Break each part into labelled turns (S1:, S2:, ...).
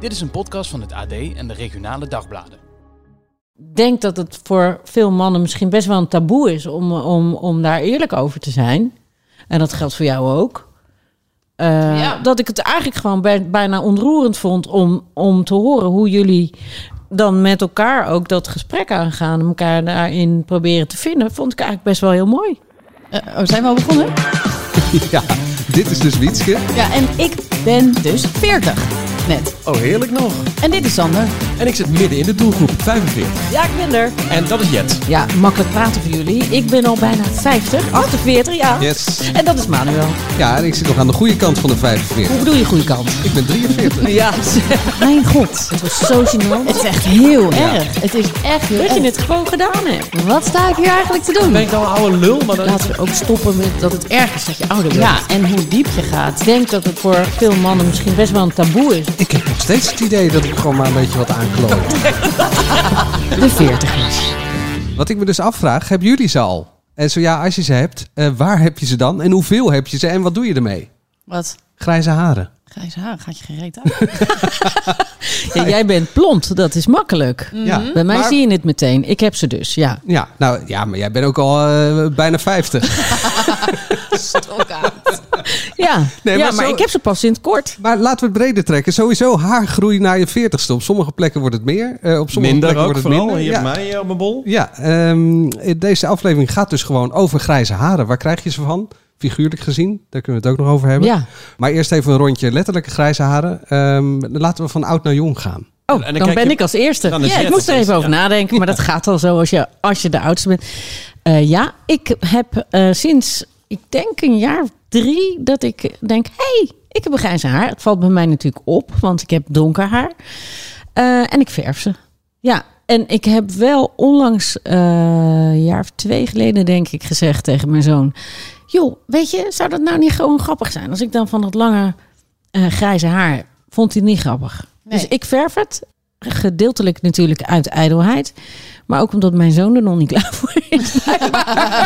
S1: Dit is een podcast van het AD en de regionale dagbladen.
S2: denk dat het voor veel mannen misschien best wel een taboe is om, om, om daar eerlijk over te zijn. En dat geldt voor jou ook. Eh,
S3: Ja.
S2: Dat ik het eigenlijk gewoon bij- bijna ontroerend vond om, om te horen hoe jullie dan met elkaar ook dat gesprek aangaan. en elkaar daarin proberen te vinden. Vond ik eigenlijk best wel heel mooi.
S3: Eh, oh, zijn we al begonnen?
S4: Ja, dit is dus Wietske.
S3: Ja, en ik ben dus 40 net.
S4: Oh, heerlijk nog.
S3: En dit is Sander.
S4: En ik zit midden in de doelgroep, 45.
S2: Ja, ik ben er.
S4: En dat is Jet.
S2: Ja, makkelijk praten voor jullie. Ik ben al bijna 50, 48 jaar.
S4: Yes.
S2: En dat is Manuel.
S4: Ja, en ik zit nog aan de goede kant van de 45.
S2: Hoe bedoel je goede kant?
S4: Ik ben 43.
S2: Ja,
S3: Mijn god.
S2: het was zo gênant.
S3: Het is echt heel erg. Het is echt heel
S2: Dat je
S3: erg.
S2: het gewoon gedaan hebt.
S3: Wat sta ik hier eigenlijk te doen?
S4: ik dan een oude lul? Maar dat...
S2: Laten we ook stoppen met dat het erg is dat je ouder bent.
S3: Ja, en hoe diep je gaat.
S2: Ik denk dat het voor veel mannen misschien best wel een taboe is.
S4: Ik heb nog steeds het idee dat ik gewoon maar een beetje wat aankloot.
S3: De 40ers.
S4: Wat ik me dus afvraag, hebben jullie ze al? En zo ja, als je ze hebt, eh, waar heb je ze dan? En hoeveel heb je ze? En wat doe je ermee?
S3: Wat?
S4: Grijze haren.
S3: Grijze haar, gaat je gereed uit?
S2: jij bent blond, dat is makkelijk.
S4: Ja,
S2: Bij mij
S4: Mhm. maar-
S2: zie je het meteen. Ik heb ze dus, ja.
S4: Ja, nou ja, maar jij bent ook al eh, bijna 50.
S3: Stok uit.
S2: Ja,
S4: Nee,
S2: ja
S4: maar
S2: maar,
S4: zo-
S2: ik heb ze pas in het kort.
S4: Maar laten we het breder trekken. Sowieso haargroei naar je 40ste. Op sommige plekken wordt het meer. eh, op sommige
S5: Minder
S4: plekken
S5: ook
S4: wordt het
S5: vooral,
S4: minder.
S5: hier
S4: ja.
S5: bij mij eh, op mijn bol.
S4: Ja, ehm, deze aflevering gaat dus gewoon over grijze haren. Waar krijg je ze van? Figuurlijk gezien, daar kunnen we het ook nog over hebben.
S2: Ja.
S4: Maar eerst even een rondje letterlijke grijze haren. Ehm, laten we van oud naar jong gaan.
S2: Oh,
S5: En
S2: dan,
S5: dan kijk
S2: ben
S5: je-
S2: ik als eerste.
S5: Dan is
S2: Ja,
S5: Jet
S2: ik moest er
S5: als
S2: even over
S5: eerste,
S2: nadenken, maar dat gaat al zo als je, als je de oudste bent. Eh, ja, ik heb eh, sinds, ik denk een jaar of drie, dat ik denk, hé, hey, ik heb een grijze haar. Het valt bij mij natuurlijk op, want ik heb donker haar. Eh, en ik verf ze. Ja, en ik heb wel onlangs, eh, een jaar of twee geleden denk ik, gezegd tegen mijn zoon... joh, weet je, zou dat nou niet gewoon grappig zijn? Als ik dan van dat lange eh, grijze haar heb? vond hij het niet grappig.
S3: Nee.
S2: Dus ik verf het, gedeeltelijk natuurlijk uit ijdelheid... maar ook omdat mijn zoon er nog niet klaar voor is.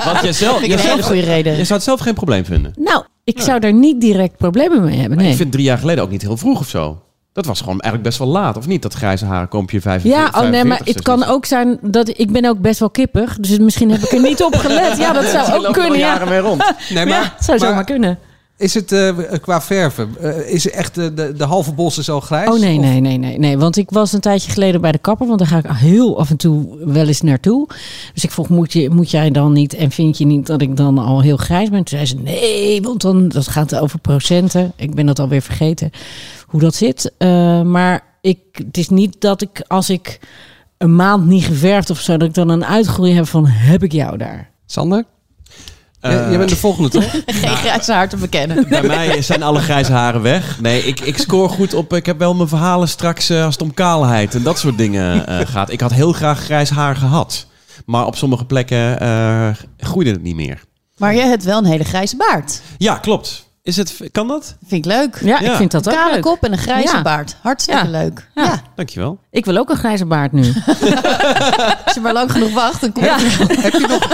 S5: Want jij zelf,
S3: Vind ik een hele
S5: jij zelf,
S3: goede reden.
S5: jij zou het zelf geen probleem vinden.
S2: Nou, ik zou daar niet direct problemen mee hebben.
S5: Maar
S2: Nee.
S5: ik vind drie jaar geleden ook niet heel vroeg of zo. Dat was gewoon eigenlijk best wel laat, of niet? Dat grijze haren komt je 45.
S2: Ja, oh nee, maar het kan ook zijn dat ik ben ook best wel kippig, dus misschien heb ik er niet op gelet. Ja, dat
S5: Die
S2: zou ook
S5: lopen al
S2: kunnen.
S5: jaren
S2: Ja,
S5: mee rond.
S4: Nee,
S2: ja het zou zomaar kunnen.
S4: Is het eh, qua verven? eh, is echt eh, de, de halve bos is al grijs?
S2: Oh nee,
S4: Of-
S2: nee, nee, nee, nee. Want ik was een tijdje geleden bij de kapper, want daar ga ik heel af en toe wel eens naartoe. Dus ik vroeg, moet, je, moet jij dan niet en vind je niet dat ik dan al heel grijs ben? Toen zei ze, nee, want dan dat gaat over procenten. Ik ben dat alweer vergeten, hoe dat zit. Eh, maar ik, het is niet dat ik, als ik een maand niet geverfd of zo, dat ik dan een uitgroei heb van, heb ik jou daar?
S4: Sander?
S5: Eh,
S4: Jij- jij bent de volgende toch?
S3: Geen grijze haar te bekennen.
S5: Bij mij zijn alle grijze haren weg. Nee, ik, ik scoor goed op. Ik heb wel mijn verhalen straks eh, als het om kaalheid en dat soort dingen eh, gaat. Ik had heel graag grijs haar gehad. Maar op sommige plekken eh groeide het niet meer.
S3: Maar jij hebt wel een hele grijze baard.
S5: Ja, klopt. Is het, kan dat?
S3: Vind ik leuk.
S2: Ja,
S5: Ja.
S2: ik vind dat
S3: Een
S2: ook
S3: kale
S2: leuk.
S3: kop en een grijze
S2: Ja.
S3: baard. Hartstikke
S2: Ja.
S3: leuk.
S2: Ja.
S3: Ja.
S5: Dankjewel.
S2: Ik wil ook een grijze baard nu.
S3: Als je maar lang genoeg wacht, dan kom je...
S4: heb je nog...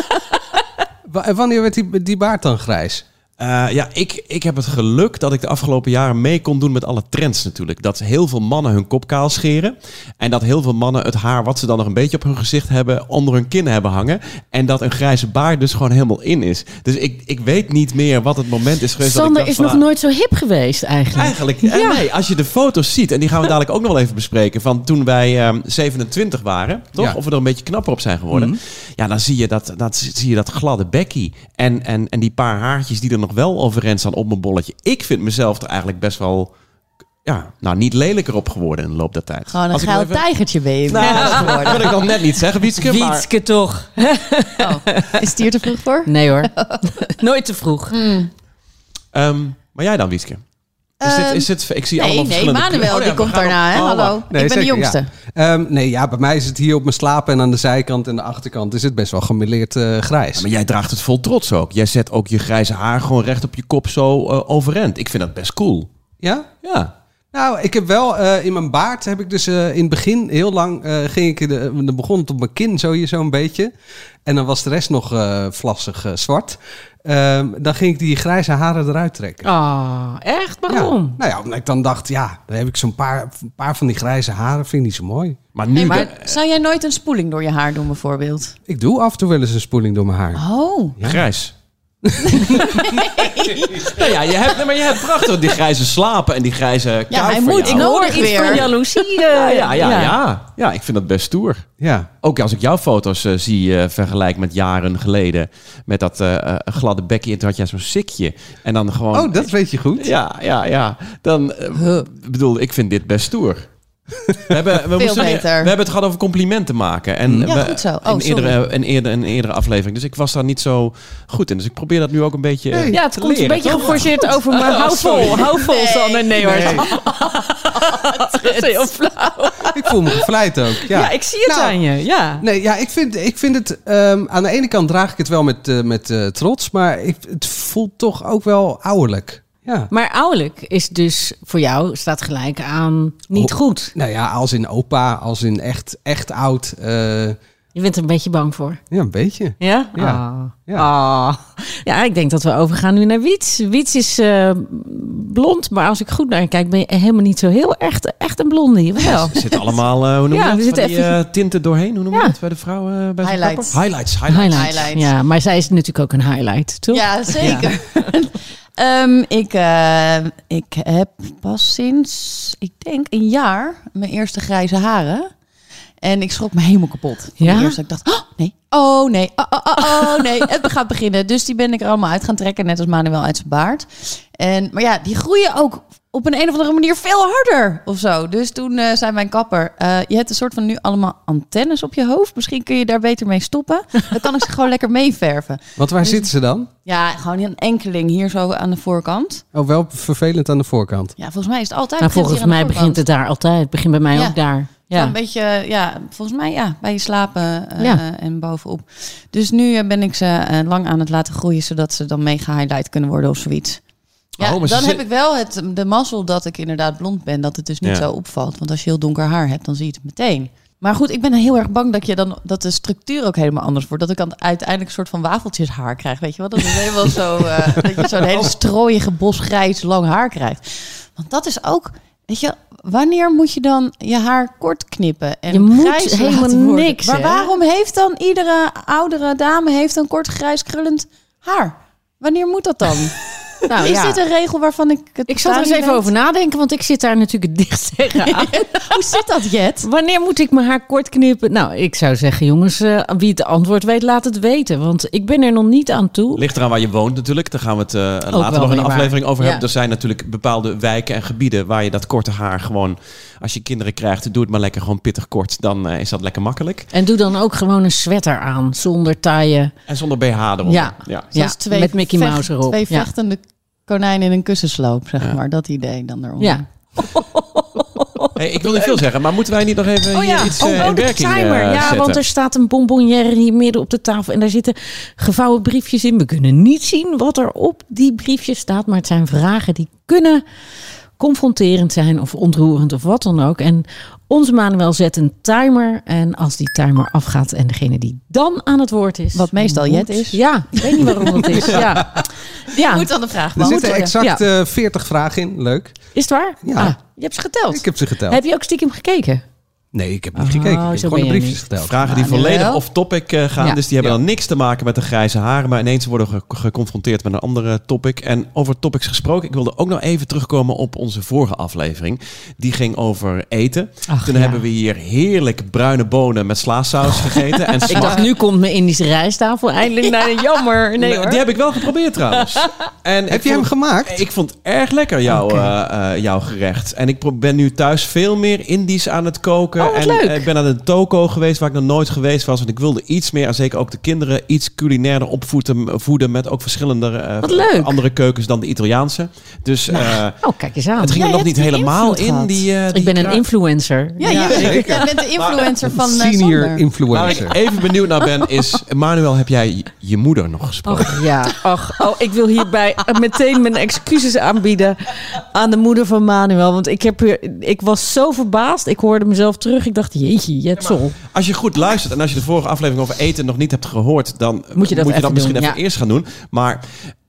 S4: Wa- Wanneer werd die, die baard dan grijs?
S5: Eh, ja, ik, ik heb het geluk dat ik de afgelopen jaren mee kon doen met alle trends natuurlijk. Dat heel veel mannen hun kop kaal scheren. En dat heel veel mannen het haar wat ze dan nog een beetje op hun gezicht hebben, onder hun kin hebben hangen. En dat een grijze baard dus gewoon helemaal in is. Dus ik, ik weet niet meer wat het moment is geweest dat ik
S2: Sander
S5: dacht
S2: is
S5: van,
S2: nog
S5: ah,
S2: nooit zo hip geweest eigenlijk.
S5: Eigenlijk, eh,
S2: Ja.
S5: nee, als je de foto's ziet, en die gaan we dadelijk ook nog wel even bespreken, van toen wij ehm, 27 waren, toch?
S4: Ja.
S5: Of we er een beetje knapper op zijn geworden.
S3: Mhm.
S5: Ja, dan zie je dat, dat, zie je dat gladde bekkie en, en, en die paar haartjes die er nog wel overeind staan op mijn bolletje. Ik vind mezelf er eigenlijk best wel, ja, nou niet lelijker op geworden in de loop der tijd.
S3: Gewoon een
S5: Als ik
S3: geil
S5: nog even-
S3: tijgertje ben je.
S5: Nou, dat wil ik dan net niet zeggen, Wietske, maar...
S2: Wietske toch.
S3: Oh, Is het hier te vroeg voor?
S2: Nee hoor. Nooit te vroeg.
S5: Ehm, maar jij dan, Wietske? Is dit, is dit, ik zie
S3: Ehm, nee,
S5: allemaal
S3: nee,
S5: verschillende
S3: Manuel,
S5: kleuren.
S3: die
S5: Oh ja,
S3: komt
S5: we gaan
S3: daarna. Hè?
S5: op- oh,
S3: Hallo,
S4: Nee,
S3: ik ben de
S4: zeker,
S3: jongste.
S4: ja. Ehm, nee, ja, bij mij is het hier op mijn slapen en aan de zijkant en de achterkant is het best wel gemeleerd eh,
S5: Ja,
S4: grijs.
S5: maar jij draagt het vol trots ook. Jij zet ook je grijze haar gewoon recht op je kop zo eh, overeind. Ik vind dat best cool.
S4: Ja?
S5: Ja.
S4: Nou, ik heb wel eh, in mijn baard heb ik dus eh, in het begin heel lang eh, ging ik de, dan begon het op mijn kin zo hier zo'n beetje en dan was de rest nog eh, vlassig eh, zwart. Ehm, dan ging ik die grijze haren eruit trekken.
S2: Ah, echt?
S3: Oh,
S2: Waarom?
S4: Ja, nou ja, omdat ik dan dacht, ja, dan heb ik zo'n paar, een paar van die grijze haren, vind ik niet zo mooi.
S5: Maar nu...
S3: Nee,
S5: de-
S3: maar zou jij nooit een spoeling door je haar doen bijvoorbeeld?
S4: Ik doe af en toe wel eens een spoeling door mijn haar.
S2: Ah.
S3: Oh.
S4: Ja.
S5: Grijs. nou ja, je hebt, nee, maar je hebt prachtig die grijze slapen en die grijze kou
S3: Ja, hij
S5: voor
S3: moet. Ik
S5: jou.
S3: hoor
S2: Hoor
S3: het
S2: iets
S3: weer.
S2: van jaloezie.
S5: Ja,
S2: eh,
S5: ja, ja, ja. Ja, ik vind dat best stoer.
S4: Ja,
S5: Ook als ik jouw foto's eh, zie eh vergelijk met jaren geleden. Met dat eh, eh, gladde bekje. En toen had jij zo'n sikje. En dan gewoon...
S4: oh, dat weet je goed.
S5: Ja, ja, ja. Dan eh, ik bedoel, ik vind dit best stoer. We hebben, we moesten-
S3: beter.
S5: We hebben het gehad over complimenten maken. En
S3: Ja,
S5: we-
S3: goed zo. Oh,
S5: in eerdere, een, eerder, een eerdere aflevering. Dus ik was daar niet zo goed in. Dus ik probeer dat nu ook een beetje. eh,
S2: Ja, het
S5: te
S2: komt een
S5: leren,
S2: beetje
S5: toch?
S2: geforceerd over, maar hou vol, hou vol, Sanne. Nee hoor,
S4: Nee.
S2: dat is heel flauw.
S4: Ik voel me gevleid ook. Ja,
S2: Ja, ik zie het
S4: Nou,
S2: aan je, ja.
S4: Nee, ja, ik vind, ik vind het... ehm, aan de ene kant draag ik het wel met, eh, met eh, trots, maar ik, het voelt toch ook wel ouderlijk. Ja.
S2: Maar ouderlijk is dus voor jou, staat gelijk aan niet
S4: Oh.
S2: goed.
S4: Nou ja, als in opa, als in echt, echt oud. eh,
S2: Je bent er een beetje bang voor.
S4: ja, een beetje.
S2: Ja?
S4: Ja.
S2: Ah.
S4: Ja.
S2: Ah. ja, ik denk dat we overgaan nu naar Wiets. Wiets is eh, blond, maar als ik goed naar je kijk, ben je helemaal niet zo heel echt, echt een blondie. of Wel.
S5: Er zitten allemaal, eh, hoe noem je
S2: Ja,
S5: dat?
S2: er zitten
S5: Van die,
S2: even-
S5: eh, tinten doorheen. Hoe noem je
S2: Ja.
S5: dat bij de vrouwen? eh, bij zo'n
S3: Highlights.
S5: kapper? Highlights. Highlights.
S2: Highlight.
S3: Highlight.
S2: Ja, maar zij is natuurlijk ook een highlight, toch?
S3: Ja, zeker. Ehm, ik, eh, ik heb pas sinds, ik denk, een jaar mijn eerste grijze haren. En ik schrok me helemaal kapot. Van
S2: Ja?
S3: de Eerst, ik dacht, oh nee, oh nee, oh, oh, oh, oh, nee, het gaat beginnen. Dus die ben ik er allemaal uit gaan trekken, net als Manuel uit zijn baard. En, maar ja, die groeien ook op een, een of andere manier veel harder of zo. Dus toen eh, zei mijn kapper, eh, je hebt een soort van nu allemaal antennes op je hoofd. Misschien kun je daar beter mee stoppen. Dan kan ik ze gewoon lekker meeverven.
S4: Want waar zitten ze dan?
S3: Ja, gewoon een enkeling hier zo aan de voorkant.
S4: Oh, wel vervelend aan de voorkant.
S3: Ja, volgens mij is het altijd.
S2: Nou,
S3: begint
S2: volgens
S3: hier aan
S2: mij
S3: de
S2: begint het
S3: voorkant.
S2: daar altijd. Het begint bij mij
S3: Ja.
S2: ook daar.
S3: Ja,
S2: Ja.
S3: een beetje, ja, volgens mij ja, bij je slapen eh,
S2: Ja.
S3: en bovenop. Dus nu eh, ben ik ze eh, lang aan het laten groeien, zodat ze dan mega highlight kunnen worden of zoiets. Ja,
S5: Oh, maar ze
S3: dan
S5: zit-
S3: heb ik wel het, de mazzel dat ik inderdaad blond ben, dat het dus niet
S5: Ja.
S3: zo opvalt. Want als je heel donker haar hebt, dan zie je het meteen. Maar goed, ik ben heel erg bang dat, je dan, dat de structuur ook helemaal anders wordt. Dat ik dan uiteindelijk een soort van wafeltjes haar krijg. Weet je wel? Dat is helemaal zo. eh, dat je zo'n hele strooiige bosgrijs lang haar krijgt. Want dat is ook. Weet je, wanneer moet je dan je haar kort knippen? En
S2: Je moet
S3: grijs laten
S2: helemaal
S3: worden?
S2: niks,
S3: Maar
S2: hè?
S3: waarom heeft dan iedere oudere dame heeft een kort grijs krullend haar? Wanneer moet dat dan?
S2: Nou,
S3: is
S2: ja.
S3: dit een regel waarvan ik het
S2: Ik zal er eens even over nadenken, want ik zit daar natuurlijk het dichtst tegenaan.
S3: Hoe zit dat, Jet?
S2: Wanneer moet ik mijn haar kort knippen? Nou, ik zou zeggen, jongens, eh, wie het antwoord weet, laat het weten. Want ik ben er nog niet aan toe.
S5: Ligt eraan waar je woont natuurlijk. Daar gaan we het eh, later
S2: wel
S5: nog in
S2: weer
S5: een
S2: waar.
S5: aflevering over
S3: Ja.
S5: hebben. Er zijn natuurlijk bepaalde wijken en gebieden waar je dat korte haar gewoon... Als je kinderen krijgt, doe het maar lekker gewoon pittig kort. Dan eh, is dat lekker makkelijk.
S2: En doe dan ook gewoon een sweater aan, zonder taaien.
S5: En zonder BH eronder.
S2: Ja. Ja,
S3: Zoals twee
S2: met Mickey
S3: vecht-
S2: Mouse erop.
S3: Twee
S2: ja.
S3: vechtende konijnen in een kussensloop, zeg maar. Dat idee dan eronder.
S2: ja.
S5: Hey, ik wil niet veel zeggen, maar moeten wij niet nog even
S2: Oh ja,
S5: hier iets
S2: oh,
S5: eh,
S2: oh,
S5: in
S2: de
S5: werking eh,
S2: timer. ja,
S5: zetten?
S2: want er staat een bonbonnière hier midden op de tafel. En daar zitten gevouwen briefjes in. We kunnen niet zien wat er op die briefjes staat. Maar het zijn vragen die kunnen confronterend zijn of ontroerend of wat dan ook. En onze Manuel zet een timer. En als die timer afgaat en degene die dan aan het woord is...
S3: Wat meestal
S2: moet-
S3: Jet is.
S2: Ja, ik weet niet waarom dat is. Ja.
S3: Je
S2: ja,
S3: Moet dan de vraag
S4: Er
S3: beantwoorden.
S4: zitten exact
S2: ja.
S4: eh, 40 vragen in. Leuk.
S2: is het waar?
S4: Ja.
S2: Ah, je hebt ze geteld.
S4: Ik heb ze geteld.
S2: Heb je ook stiekem gekeken?
S4: Nee, ik heb niet
S2: Oh,
S4: gekeken. Ik
S2: zo
S4: heb
S2: ben
S4: gewoon de
S2: je
S4: briefjes
S2: niet.
S4: geteld.
S5: Vragen die
S3: Maar nu
S5: volledig
S3: wel.
S5: off-topic eh, gaan.
S2: Ja.
S5: Dus die hebben
S4: Ja.
S5: dan niks te maken met de grijze haren. Maar ineens worden we ge- geconfronteerd met een andere topic. En over topics gesproken. Ik wilde ook nog even terugkomen op onze vorige aflevering. Die ging over eten.
S2: Ach, ja.
S5: Toen
S2: Oh.
S5: hebben we hier heerlijk bruine bonen met slaasaus gegeten. en
S2: Ik dacht, nu komt mijn Indische rijsttafel eindelijk naar de jammer. Nee hoor.
S5: Die heb ik wel geprobeerd trouwens. En ik
S4: Heb je hem
S5: vond-
S4: gemaakt?
S5: Ik vond erg lekker jouw,
S2: Oké.
S5: eh, eh, jouw gerecht. En ik pro- ben nu thuis veel meer Indisch aan het koken. gesproken.
S2: Oh, wat
S5: en
S2: leuk.
S5: eh, ik ben naar de toko geweest waar ik nog nooit geweest was. En ik wilde iets meer, en zeker ook de kinderen, iets culinairder opvoeden. Voeden met ook verschillende eh,
S2: Wat leuk.
S5: andere keukens dan de Italiaanse. Dus eh,
S2: Oh, kijk eens aan.
S5: het ging
S3: jij
S5: er
S3: hebt
S5: nog niet
S3: die
S5: helemaal
S3: invloed
S5: in.
S3: gehad.
S5: Die, eh, die
S2: ik ben een
S5: kraak.
S2: influencer.
S3: Ja, jij bent-
S4: zeker.
S3: jij bent de influencer van eh,
S4: Senior
S3: Sander.
S5: Waar
S4: influencer.
S5: ik even benieuwd naar ben is, Manuel, heb jij je- je moeder nog gesproken?
S2: Och ja, och, oh, ik wil hierbij meteen mijn excuses aanbieden aan de moeder van Manuel. Want ik, heb, hier- ik was zo verbaasd. Ik hoorde mezelf terug. Ik dacht, jeetje, Jetsel.
S5: Als je goed luistert en als je de vorige aflevering over eten nog niet hebt gehoord, dan
S2: Moet je dat even
S5: misschien
S2: doen,
S5: even
S2: ja.
S5: eerst gaan doen. Maar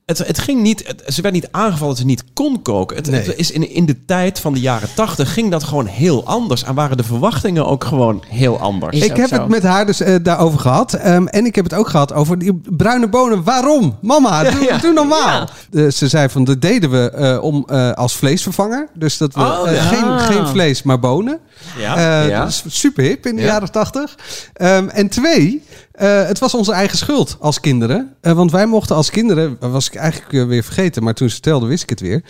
S5: het, het ging niet, het- ze werd niet aangevallen dat ze niet kon koken. Het, het is in, in de tijd van de jaren tachtig ging dat gewoon heel anders. En waren de verwachtingen ook gewoon heel anders.
S2: Is
S4: Ik
S2: ook
S4: heb
S2: zo.
S4: het met haar dus eh, daarover gehad. Ehm, en ik heb het ook gehad over die bruine bonen. Waarom? Mama, doe, doe normaal. Eh, ze zei van, dat deden we eh, om, eh, als vleesvervanger. Dus dat we
S5: Oh,
S4: eh,
S5: ja.
S4: geen, geen vlees, maar bonen.
S5: Ja,
S4: Eh,
S5: ja.
S4: Dat is super hip in de
S5: Ja.
S4: jaren tachtig. Ehm, en twee, eh, het was onze eigen schuld als kinderen. Eh, want wij mochten als kinderen, was ik eigenlijk eh, weer vergeten, maar toen ze het vertelde wist ik het weer.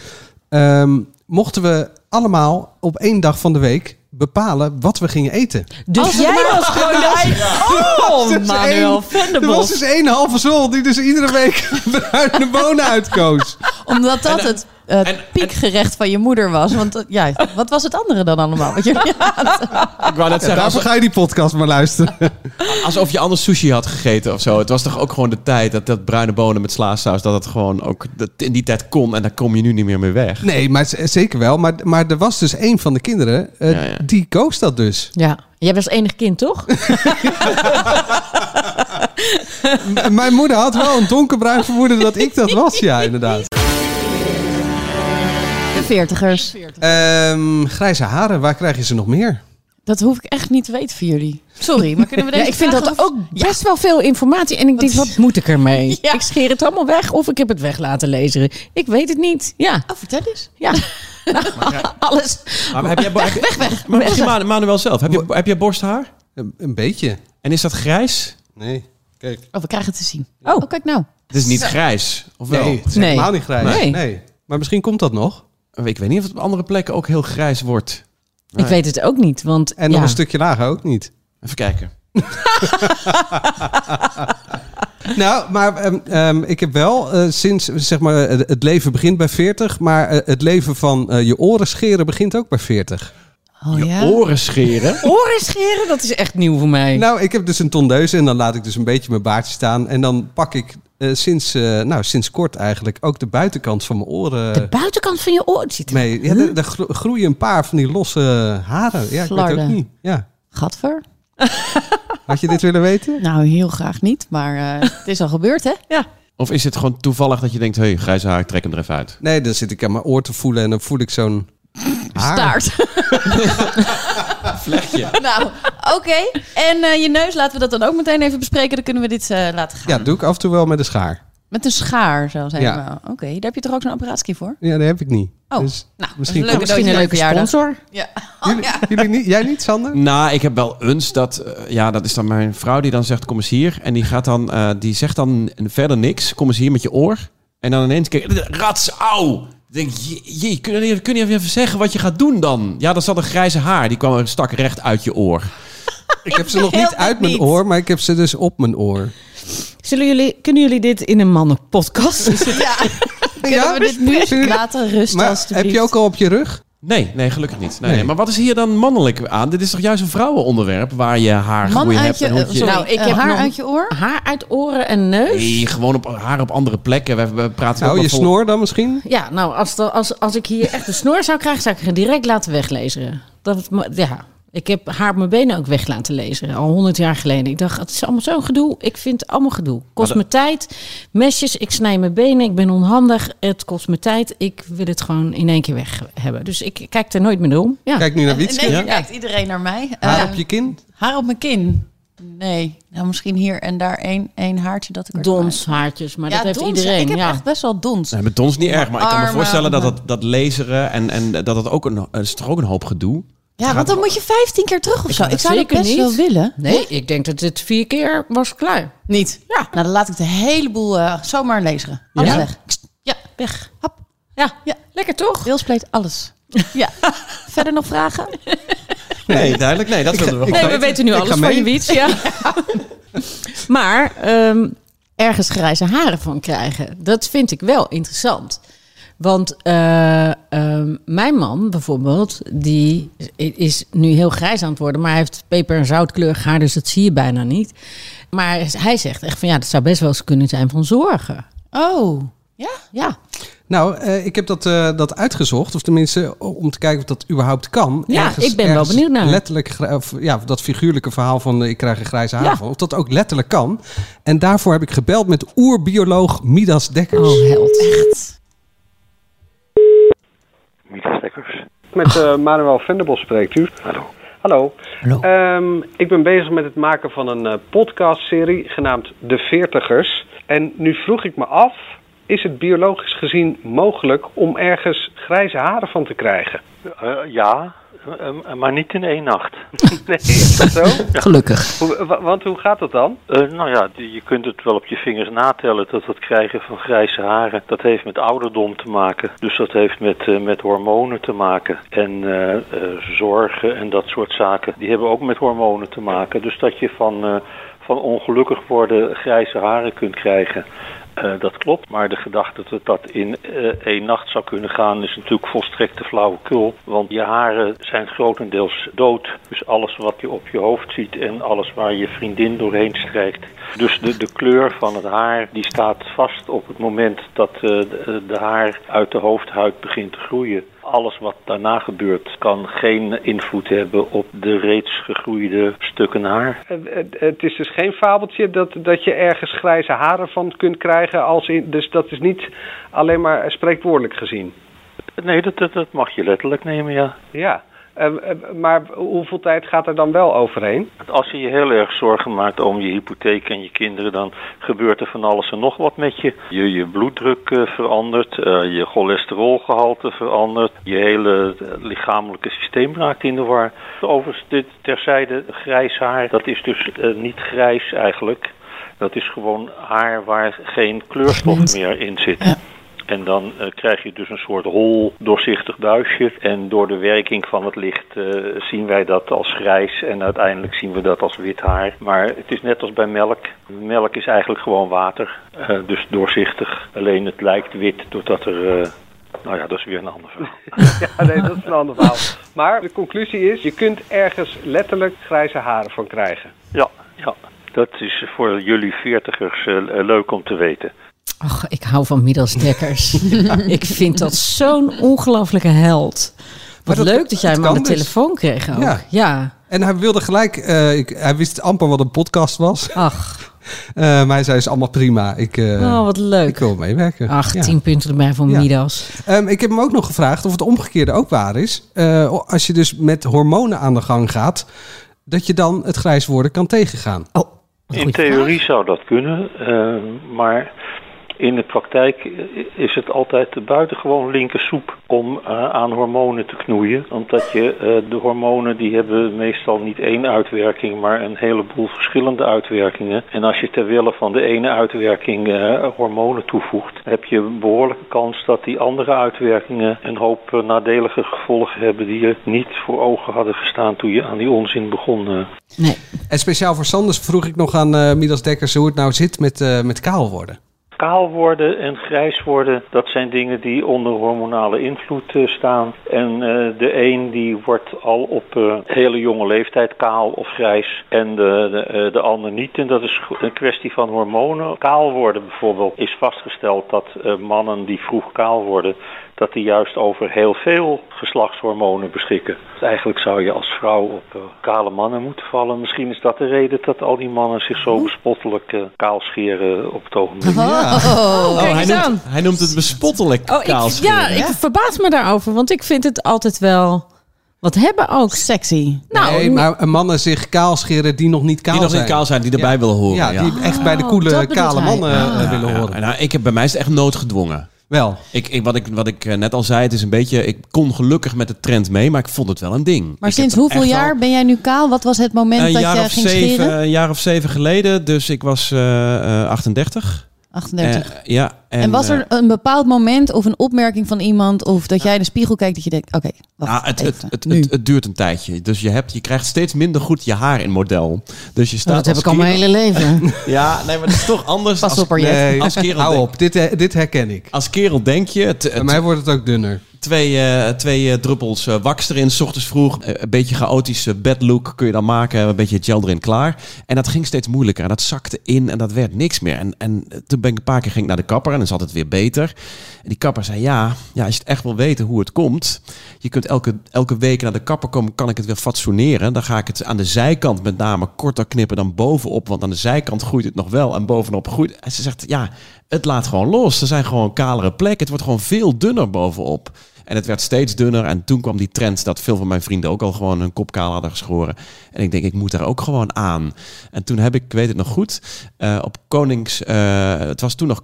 S4: Ehm, mochten we allemaal op één dag van de week bepalen wat we gingen eten.
S2: Dus jij was gewoon dat... Oh,
S4: Er was dus
S2: Manuel
S4: één- Er was
S2: Venderbos.
S4: dus één halve zol die dus iedere week bruine bonen uitkoos.
S3: Omdat dat het eh,
S5: en-
S3: piekgerecht van je moeder was. Want eh, ja, wat was het andere dan allemaal? Wat je-
S5: Ik wou net
S4: Ja,
S5: zeggen,
S4: daarvoor
S5: alsof,
S4: ga je die podcast maar luisteren.
S5: alsof je anders sushi had gegeten of zo. Het was toch ook gewoon de tijd dat, dat bruine bonen met slaasaus, dat het gewoon ook dat in die tijd kon. En daar kom je nu niet meer mee weg.
S4: Nee, maar z- zeker wel. Maar, maar er was dus één van de kinderen, eh,
S5: Ja, ja.
S4: die koos dat dus.
S2: Ja, jij was enig kind, toch?
S4: M- Mijn moeder had wel een donkerbruin vermoeden dat ik dat was. Ja, inderdaad.
S3: De veertigers.
S4: Ehm, grijze haren, waar krijg je ze nog meer?
S3: Dat hoef ik echt niet te weten van jullie. Sorry, maar kunnen we
S2: Ja,
S3: deze
S2: ik vind
S3: vraag
S2: dat
S3: over-
S2: ook best wel veel informatie. En ik denk, wat moet ik ermee?
S3: Ja.
S2: Ik scheer het allemaal weg of ik heb het weg laten lezen. Ik weet het niet. Ja,
S3: Oh, vertel eens.
S2: ja. alles.
S5: Maar heb jij, weg, weg, weg. Maar misschien Manu- Manuel zelf, heb je, heb je borsthaar?
S4: Een, een beetje.
S5: En is dat grijs?
S4: Nee. Kijk.
S3: Oh, we krijgen het te zien.
S2: Oh.
S3: Oh, kijk nou.
S5: Het is niet grijs, of wel?
S4: Nee, het is
S2: Nee.
S4: helemaal niet grijs.
S2: Nee.
S4: Nee. Maar misschien komt dat nog.
S5: Ik weet niet of het op andere plekken ook heel grijs wordt.
S2: Ik weet het ook niet, want...
S4: En nog
S2: ja.
S4: een stukje lager ook niet.
S5: Even kijken.
S4: Nou, maar ehm, ehm, ik heb wel eh, sinds, zeg maar, eh, het leven begint bij 40, maar eh, het leven van eh, je oren scheren begint ook bij 40.
S3: Oh
S5: Je
S3: ja.
S5: oren scheren.
S2: Oren scheren, dat is echt nieuw voor mij.
S4: Nou, ik heb dus een tondeuze en dan laat ik dus een beetje mijn baardje staan. En dan pak ik eh, sinds, eh, nou, sinds kort eigenlijk ook de buitenkant van mijn oren
S2: de buitenkant van je oor het zit er-
S4: mee. Ja, daar- daar gro- groeien een paar van die losse haren. Ja, ik weet het
S3: Flarden.
S4: ook niet. Ja.
S3: Gadver?
S4: Had je dit willen weten?
S3: Nou, heel graag niet. Maar eh, het is al gebeurd, hè?
S5: Of is het gewoon toevallig dat je denkt, hé, hey, grijs haar, ik trek hem er even uit.
S4: Nee, dan zit ik aan mijn oor te voelen en dan voel ik zo'n haar.
S3: Staart.
S5: Vlechtje.
S3: nou, oké. En eh, je neus, laten we dat dan ook meteen even bespreken. Dan kunnen we dit eh, laten gaan.
S4: Ja, dat doe ik af en toe wel met een schaar.
S3: Met een schaar, zo zijn
S4: Ja.
S3: we. Oké, daar heb je toch ook zo'n apparaatski voor?
S4: Ja, dat heb ik niet.
S3: Oh,
S4: Dus
S3: nou,
S4: misschien
S3: dat is een
S2: Misschien een leuke
S3: leuke verjaardag.
S2: sponsor.
S3: Oh, Ja.
S2: Oh,
S4: Jullie, jullie niet, jij niet, Sander?
S5: Nou, ik heb wel eens dat, eh, ja, dat is dan mijn vrouw die dan zegt, kom eens hier. En die gaat dan, eh, die zegt dan verder niks. Kom eens hier met je oor. En dan ineens, kijk, rats, auw. Ik Denk, je, je, kun, je, kun je even zeggen wat je gaat doen dan? Ja, dan zat een grijze haar, die kwam er stak recht uit je oor.
S4: Ik heb ze nog
S3: wil
S4: niet
S3: dit
S4: uit mijn
S3: niet.
S4: oor, maar ik heb ze dus op mijn oor.
S2: Zullen jullie, kunnen jullie dit in een mannenpodcast?
S3: Ja. Kunnen
S4: Ja?
S3: we dit nu laten rusten
S4: Maar
S3: alsjeblieft?
S4: heb je ook al op je rug?
S5: Nee, nee, gelukkig niet. Nee,
S4: Nee.
S5: nee. Maar wat is hier dan mannelijk aan? Dit is toch juist een vrouwenonderwerp waar je haar
S3: Man
S5: groeien
S3: uit
S5: hebt
S3: je,
S5: en hoe het je...
S3: sorry,
S2: Nou, ik
S3: eh,
S2: heb
S3: haar
S2: nog-
S3: uit je oor?
S2: Haar uit oren en neus?
S5: Nee, gewoon op, haar op andere plekken. We, we praten ook
S4: Nou,
S5: nog
S4: je
S5: vol-
S4: snor dan misschien?
S2: Ja, nou, als, de- als, als ik hier echt een snor zou krijgen, zou ik het direct laten weglezen. Dat, ja, ik heb haar op mijn benen ook weg laten lezen, al honderd jaar geleden. Ik dacht, het is allemaal zo'n gedoe. Ik vind het allemaal gedoe. Kost
S5: dat-
S2: me tijd, mesjes, ik snij mijn benen, ik ben onhandig. Het kost me tijd, ik wil het gewoon in één keer weg hebben. Dus ik kijk er nooit meer om. Ja.
S4: Kijk nu naar Wietske.
S3: Nee,
S5: Ja.
S3: nu kijkt iedereen naar mij.
S4: Haar
S3: Eh,
S4: op je kin?
S3: haar op mijn kin? Nee. Nou, misschien hier en daar één, één haartje dat ik er
S2: Dons, haartjes, maar
S3: Ja,
S2: dat heeft
S3: dons.
S2: iedereen.
S3: Ik heb
S2: ja.
S3: echt best wel dons.
S5: Nee, met ons niet erg, maar ik kan me
S3: Armen,
S5: voorstellen dat dat,
S3: armen.
S5: dat laseren en, en dat dat ook een, eh, is toch ook een hoop gedoe.
S3: Ja, want dan moet je 15 keer terug of zo.
S2: kan
S3: Ik
S2: dat
S3: zou dat
S2: zeker
S3: best
S2: niet.
S3: wel willen.
S2: Nee, ik denk dat dit vier keer was klaar.
S3: Niet?
S2: Ja.
S3: Nou, dan laat ik de hele boel eh, zomaar lezen. Alles
S2: Ja?
S3: weg. Kst, Ja, weg. Hap.
S2: Ja,
S3: Ja.
S2: lekker toch?
S3: Deelspleet, alles. Ja. Verder nog vragen?
S5: Nee, duidelijk. Nee, dat wilden we
S4: ik
S5: gewoon
S2: Nee, we
S5: weten.
S2: weten nu
S4: Ik
S2: alles
S4: ga
S2: van
S4: mee.
S2: je wiets, ja. maar ehm, ergens grijze haren van krijgen, dat vind ik wel interessant. Want eh, ehm, mijn man bijvoorbeeld, die i- is nu heel grijs aan het worden, maar hij heeft peper- en zoutkleurig haar, dus dat zie je bijna niet. Maar hij zegt echt van ja, dat zou best wel eens kunnen zijn van zorgen.
S3: Oh, ja?
S2: Ja,
S4: Nou, eh, ik heb dat, eh, dat uitgezocht. Of tenminste, om te kijken of dat überhaupt kan.
S2: Ja, ik ben wel benieuwd naar.
S4: Letterlijk, gra- of, ja, dat figuurlijke verhaal van eh, ik krijg een grijze
S2: Ja.
S4: haven. Of dat ook letterlijk kan. En daarvoor heb ik gebeld met oerbioloog Midas Dekkers.
S2: oh held.
S3: Echt?
S6: Midas Dekkers.
S7: Met eh, Manuel Venderbos spreekt u.
S6: Hallo.
S7: Hallo.
S5: Hallo.
S7: Ehm, ik ben bezig met het maken van een eh, podcastserie genaamd De Veertigers. En nu vroeg ik me af, is het biologisch gezien mogelijk om ergens grijze haren van te krijgen?
S6: Eh, ja, eh, eh, maar niet in één nacht.
S7: Nee, is dat zo?
S2: Gelukkig.
S7: Hoe- wa- want hoe gaat dat dan?
S6: Eh, nou ja, die- je kunt het wel op je vingers natellen dat het krijgen van grijze haren, dat heeft met ouderdom te maken. Dus dat heeft met, eh, met hormonen te maken. En eh, eh, zorgen en dat soort zaken, die hebben ook met hormonen te maken. Dus dat je van, eh, van ongelukkig worden grijze haren kunt krijgen. Eh, dat klopt, maar de gedachte dat dat in eh, één nacht zou kunnen gaan is natuurlijk volstrekte flauwekul. Want je haren zijn grotendeels dood. Dus alles wat je op je hoofd ziet en alles waar je vriendin doorheen strijkt. Dus de, de kleur van het haar die staat vast op het moment dat eh, de, de haar uit de hoofdhuid begint te groeien. Alles wat daarna gebeurt kan geen invloed hebben op de reeds gegroeide stukken haar.
S7: Het- het- Het is dus geen fabeltje dat, dat je ergens grijze haren van kunt krijgen. Als in, dus dat is niet alleen maar eh, spreekwoordelijk gezien.
S6: Nee, dat, dat, dat mag je letterlijk nemen, ja.
S7: Ja, Eh, eh, maar hoeveel tijd gaat er dan wel overheen?
S6: Als je je heel erg zorgen maakt om je hypotheek en je kinderen, dan gebeurt er van alles en nog wat met je. Je, je bloeddruk eh, verandert, eh, je cholesterolgehalte verandert, je hele eh, lichamelijke systeem raakt in de war. Overigens, dit terzijde, grijs haar, dat is dus eh, niet grijs eigenlijk. Dat is gewoon haar waar geen kleurstof meer in zit. En dan eh, krijg je dus een soort hol, doorzichtig buisje. En door de werking van het licht eh, zien wij dat als grijs en uiteindelijk zien we dat als wit haar. Maar het is net als bij melk. Melk is eigenlijk gewoon water, eh, dus doorzichtig. Alleen het lijkt wit doordat er... eh, nou ja, dat is weer een ander verhaal.
S7: Ja, nee, dat is een ander verhaal. Maar de conclusie is, je kunt ergens letterlijk grijze haren van krijgen.
S6: Ja, ja. Dat is voor jullie veertigers eh, leuk om te weten.
S2: Ach, ik hou van Midas Dekkers. Ik vind dat zo'n ongelofelijke held. Wat
S4: Maar dat-
S2: leuk dat jij
S4: het
S2: hem aan de
S4: kan dus.
S2: telefoon kreeg ook. Ja.
S4: Ja. En hij wilde gelijk, eh, ik, hij wist amper wat een podcast was.
S2: Ach,
S4: Eh, maar hij zei, is allemaal prima. Ik, eh,
S2: oh, wat
S4: ik
S2: leuk.
S4: wil meewerken.
S2: Ach,
S4: Ja.
S2: tien punten erbij van
S4: Ja.
S2: Midas.
S4: Ehm, ik heb hem ook nog gevraagd of het omgekeerde ook waar is. Eh, als je dus met hormonen aan de gang gaat, dat je dan het grijs worden kan tegengaan.
S2: Oh,
S6: In theorie zou dat kunnen, eh, maar in de praktijk is het altijd de buitengewoon linkersoep om eh, aan hormonen te knoeien. Omdat je eh, de hormonen die hebben meestal niet één uitwerking, maar een heleboel verschillende uitwerkingen. En als je ter wille van de ene uitwerking eh, hormonen toevoegt, heb je een behoorlijke kans dat die andere uitwerkingen een hoop eh, nadelige gevolgen hebben die je niet voor ogen hadden gestaan toen je aan die onzin begon. eh.
S2: Nee.
S4: En speciaal voor Sanders vroeg ik nog aan eh, Midas Dekkers hoe het nou zit met, eh, met kaal worden.
S6: Kaal worden en grijs worden, dat zijn dingen die onder hormonale invloed eh, staan. En eh, de een die wordt al op eh, hele jonge leeftijd kaal of grijs en de, de, eh, de ander niet. En dat is een kwestie van hormonen. Kaal worden bijvoorbeeld is vastgesteld dat eh, mannen die vroeg kaal worden, dat die juist over heel veel geslachtshormonen beschikken. Dus eigenlijk zou je als vrouw op eh, kale mannen moeten vallen. Misschien is dat de reden dat al die mannen zich zo bespottelijk eh, kaal scheren op het ogenblik.
S2: Oh,
S5: Oh,
S2: kijk
S5: hij,
S2: eens aan.
S5: noemt, hij noemt het bespottelijk
S2: Oh, ik,
S5: kaalscheren.
S2: ja, ik verbaas me daarover, want ik vind het altijd wel wat hebben ook.
S3: Sexy.
S2: Nou,
S4: nee, maar mannen zich kaal scheren die nog niet kaal
S5: Die nog
S4: zijn.
S5: niet kaal zijn, die erbij willen horen.
S4: Ja,
S5: Ja,
S4: die echt bij de
S2: Oh, dat
S4: coole
S2: bedoelt
S4: kale
S2: hij.
S4: mannen eh, willen horen.
S5: Ja, nou, ik heb, bij mij is het echt noodgedwongen.
S4: Wel,
S5: Ik, ik, wat, ik, wat ik eh, net al zei, het is een beetje... Ik kon gelukkig met de trend mee, maar ik vond het wel een ding.
S3: Maar
S5: Ik
S3: sinds
S5: heb er
S3: hoeveel
S5: echt
S3: jaar
S5: wel-
S3: ben jij nu kaal? Wat was het moment
S5: Een
S3: dat
S5: jaar,
S3: je
S5: of
S3: ging
S5: zeven,
S3: scheren?
S5: een jaar of zeven geleden, dus ik was eh, eh, 38.
S3: 38.
S5: Eh, ja, en,
S3: en was
S5: eh,
S3: er een bepaald moment of een opmerking van iemand... of dat jij in de spiegel kijkt dat je denkt... oké, wacht
S5: Ja, Nou, het, het,
S3: even.
S5: het,
S2: Nu.
S5: het, het duurt een tijdje. Dus je, hebt, je krijgt steeds minder goed je haar in model. Dus je
S3: Oh,
S5: staat
S2: dat heb
S5: als
S2: ik al mijn
S5: kerel-
S2: hele leven.
S5: Ja, nee, maar dat is toch anders.
S3: Pas
S5: als,
S3: op, Arjet.
S5: nee, als, kerel
S4: Hou
S5: denk-
S4: op, dit, eh, dit herken ik.
S5: als kerel denk je, het-
S4: Bij
S5: het-
S4: mij wordt het ook dunner.
S5: twee, eh, twee eh, druppels eh, wax erin, s ochtends vroeg. Eh, een beetje chaotische bedlook kun je dan maken. Een beetje gel erin, klaar. En dat ging steeds moeilijker. En dat zakte in en dat werd niks meer. En, en eh, toen ben ik een paar keer ging ik naar de kapper en dan zat het weer beter. En die kapper zei, ja, ja als je het echt wil weten hoe het komt... je kunt elke, elke week naar de kapper komen, kan ik het weer fatsoeneren. Dan ga ik het aan de zijkant met name korter knippen dan bovenop. Want aan de zijkant groeit het nog wel en bovenop groeit... En ze zegt, ja, het laat gewoon los. Er zijn gewoon kalere plekken. Het wordt gewoon veel dunner bovenop. En het werd steeds dunner. En toen kwam die trend dat veel van mijn vrienden ook al gewoon hun kop kaal hadden geschoren. En ik denk, ik moet daar ook gewoon aan. En toen heb ik, ik weet het nog goed, eh, op Konings... eh, het was toen nog